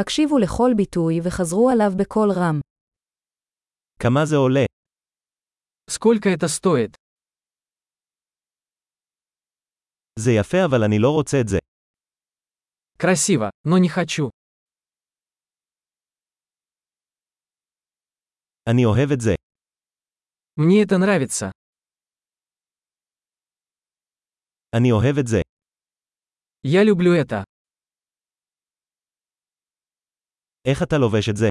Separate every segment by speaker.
Speaker 1: הקשיבו לכל ביטוי וחזרו עליו בקול רם.
Speaker 2: כמה זה עולה?
Speaker 3: Сколько это стоит?
Speaker 2: זה יפה אבל אני לא רוצה את זה.
Speaker 3: Красиво, но не хочу.
Speaker 2: אני אוהב את זה.
Speaker 3: Мне это нравится.
Speaker 2: אני אוהב את זה.
Speaker 3: Я люблю это.
Speaker 2: איך אתה לובש את זה?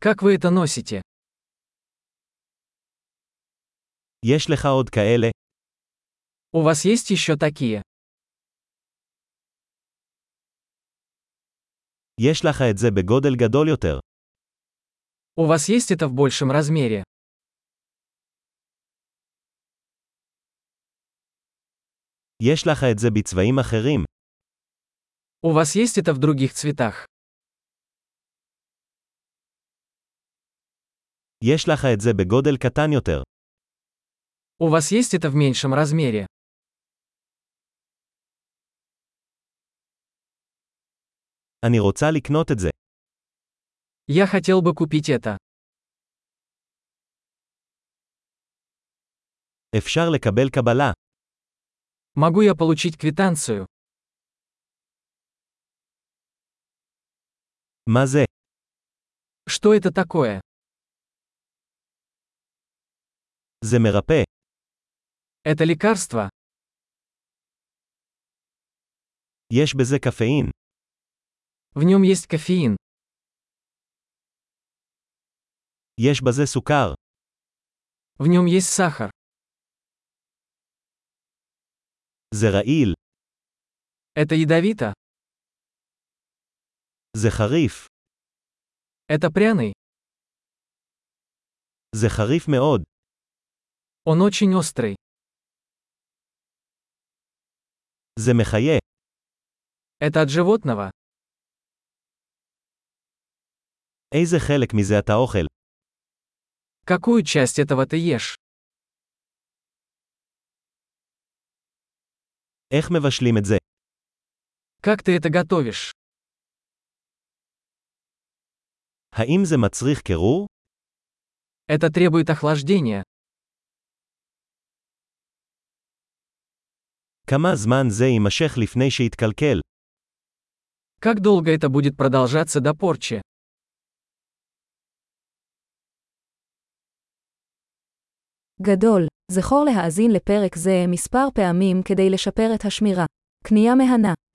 Speaker 3: Как вы это носите?
Speaker 2: יש לך עוד כאלה?
Speaker 3: У вас есть еще такие?
Speaker 2: יש לך את זה בגודל גדול יותר.
Speaker 3: У вас есть это в большем размере?
Speaker 2: יש לך את זה בצבעים אחרים.
Speaker 3: У вас есть это в других цветах?
Speaker 2: יש לך את זה בגודל קטן יותר.
Speaker 3: У вас есть это в меньшем размере?
Speaker 2: אני רוצה לקנות את זה.
Speaker 3: Я хотел бы купить это.
Speaker 2: אפשר לקבל קבלה.
Speaker 3: Могу я получить квитанцию?
Speaker 2: מה זה?
Speaker 3: Что это такое?
Speaker 2: זה מרפא.
Speaker 3: Это лекарство?
Speaker 2: יש בזה קפאין.
Speaker 3: В нем есть кофеин.
Speaker 2: יש בזה סוכר.
Speaker 3: В нем есть сахар.
Speaker 2: זה רעיל.
Speaker 3: Это ядовито.
Speaker 2: זה חריף.
Speaker 3: Это пряный.
Speaker 2: זה חריף מאוד.
Speaker 3: Он очень острый.
Speaker 2: זה מחיה.
Speaker 3: Это от животного.
Speaker 2: איזה חלק מזה אתה אוכל?
Speaker 3: Какую часть этого ты ешь?
Speaker 2: איך מבשלים את זה?
Speaker 3: Как ты это готовишь?
Speaker 2: האם זה מצריך קירור?
Speaker 3: Это требует охлаждения.
Speaker 2: כמה זמן זה יימשך לפני שיתקלקל?
Speaker 3: Как долго это будет продолжаться до порчи?
Speaker 1: גדול, זכור להאזין לפרק זה מספר פעמים כדי לשפר את השמירה. קנייה מהנה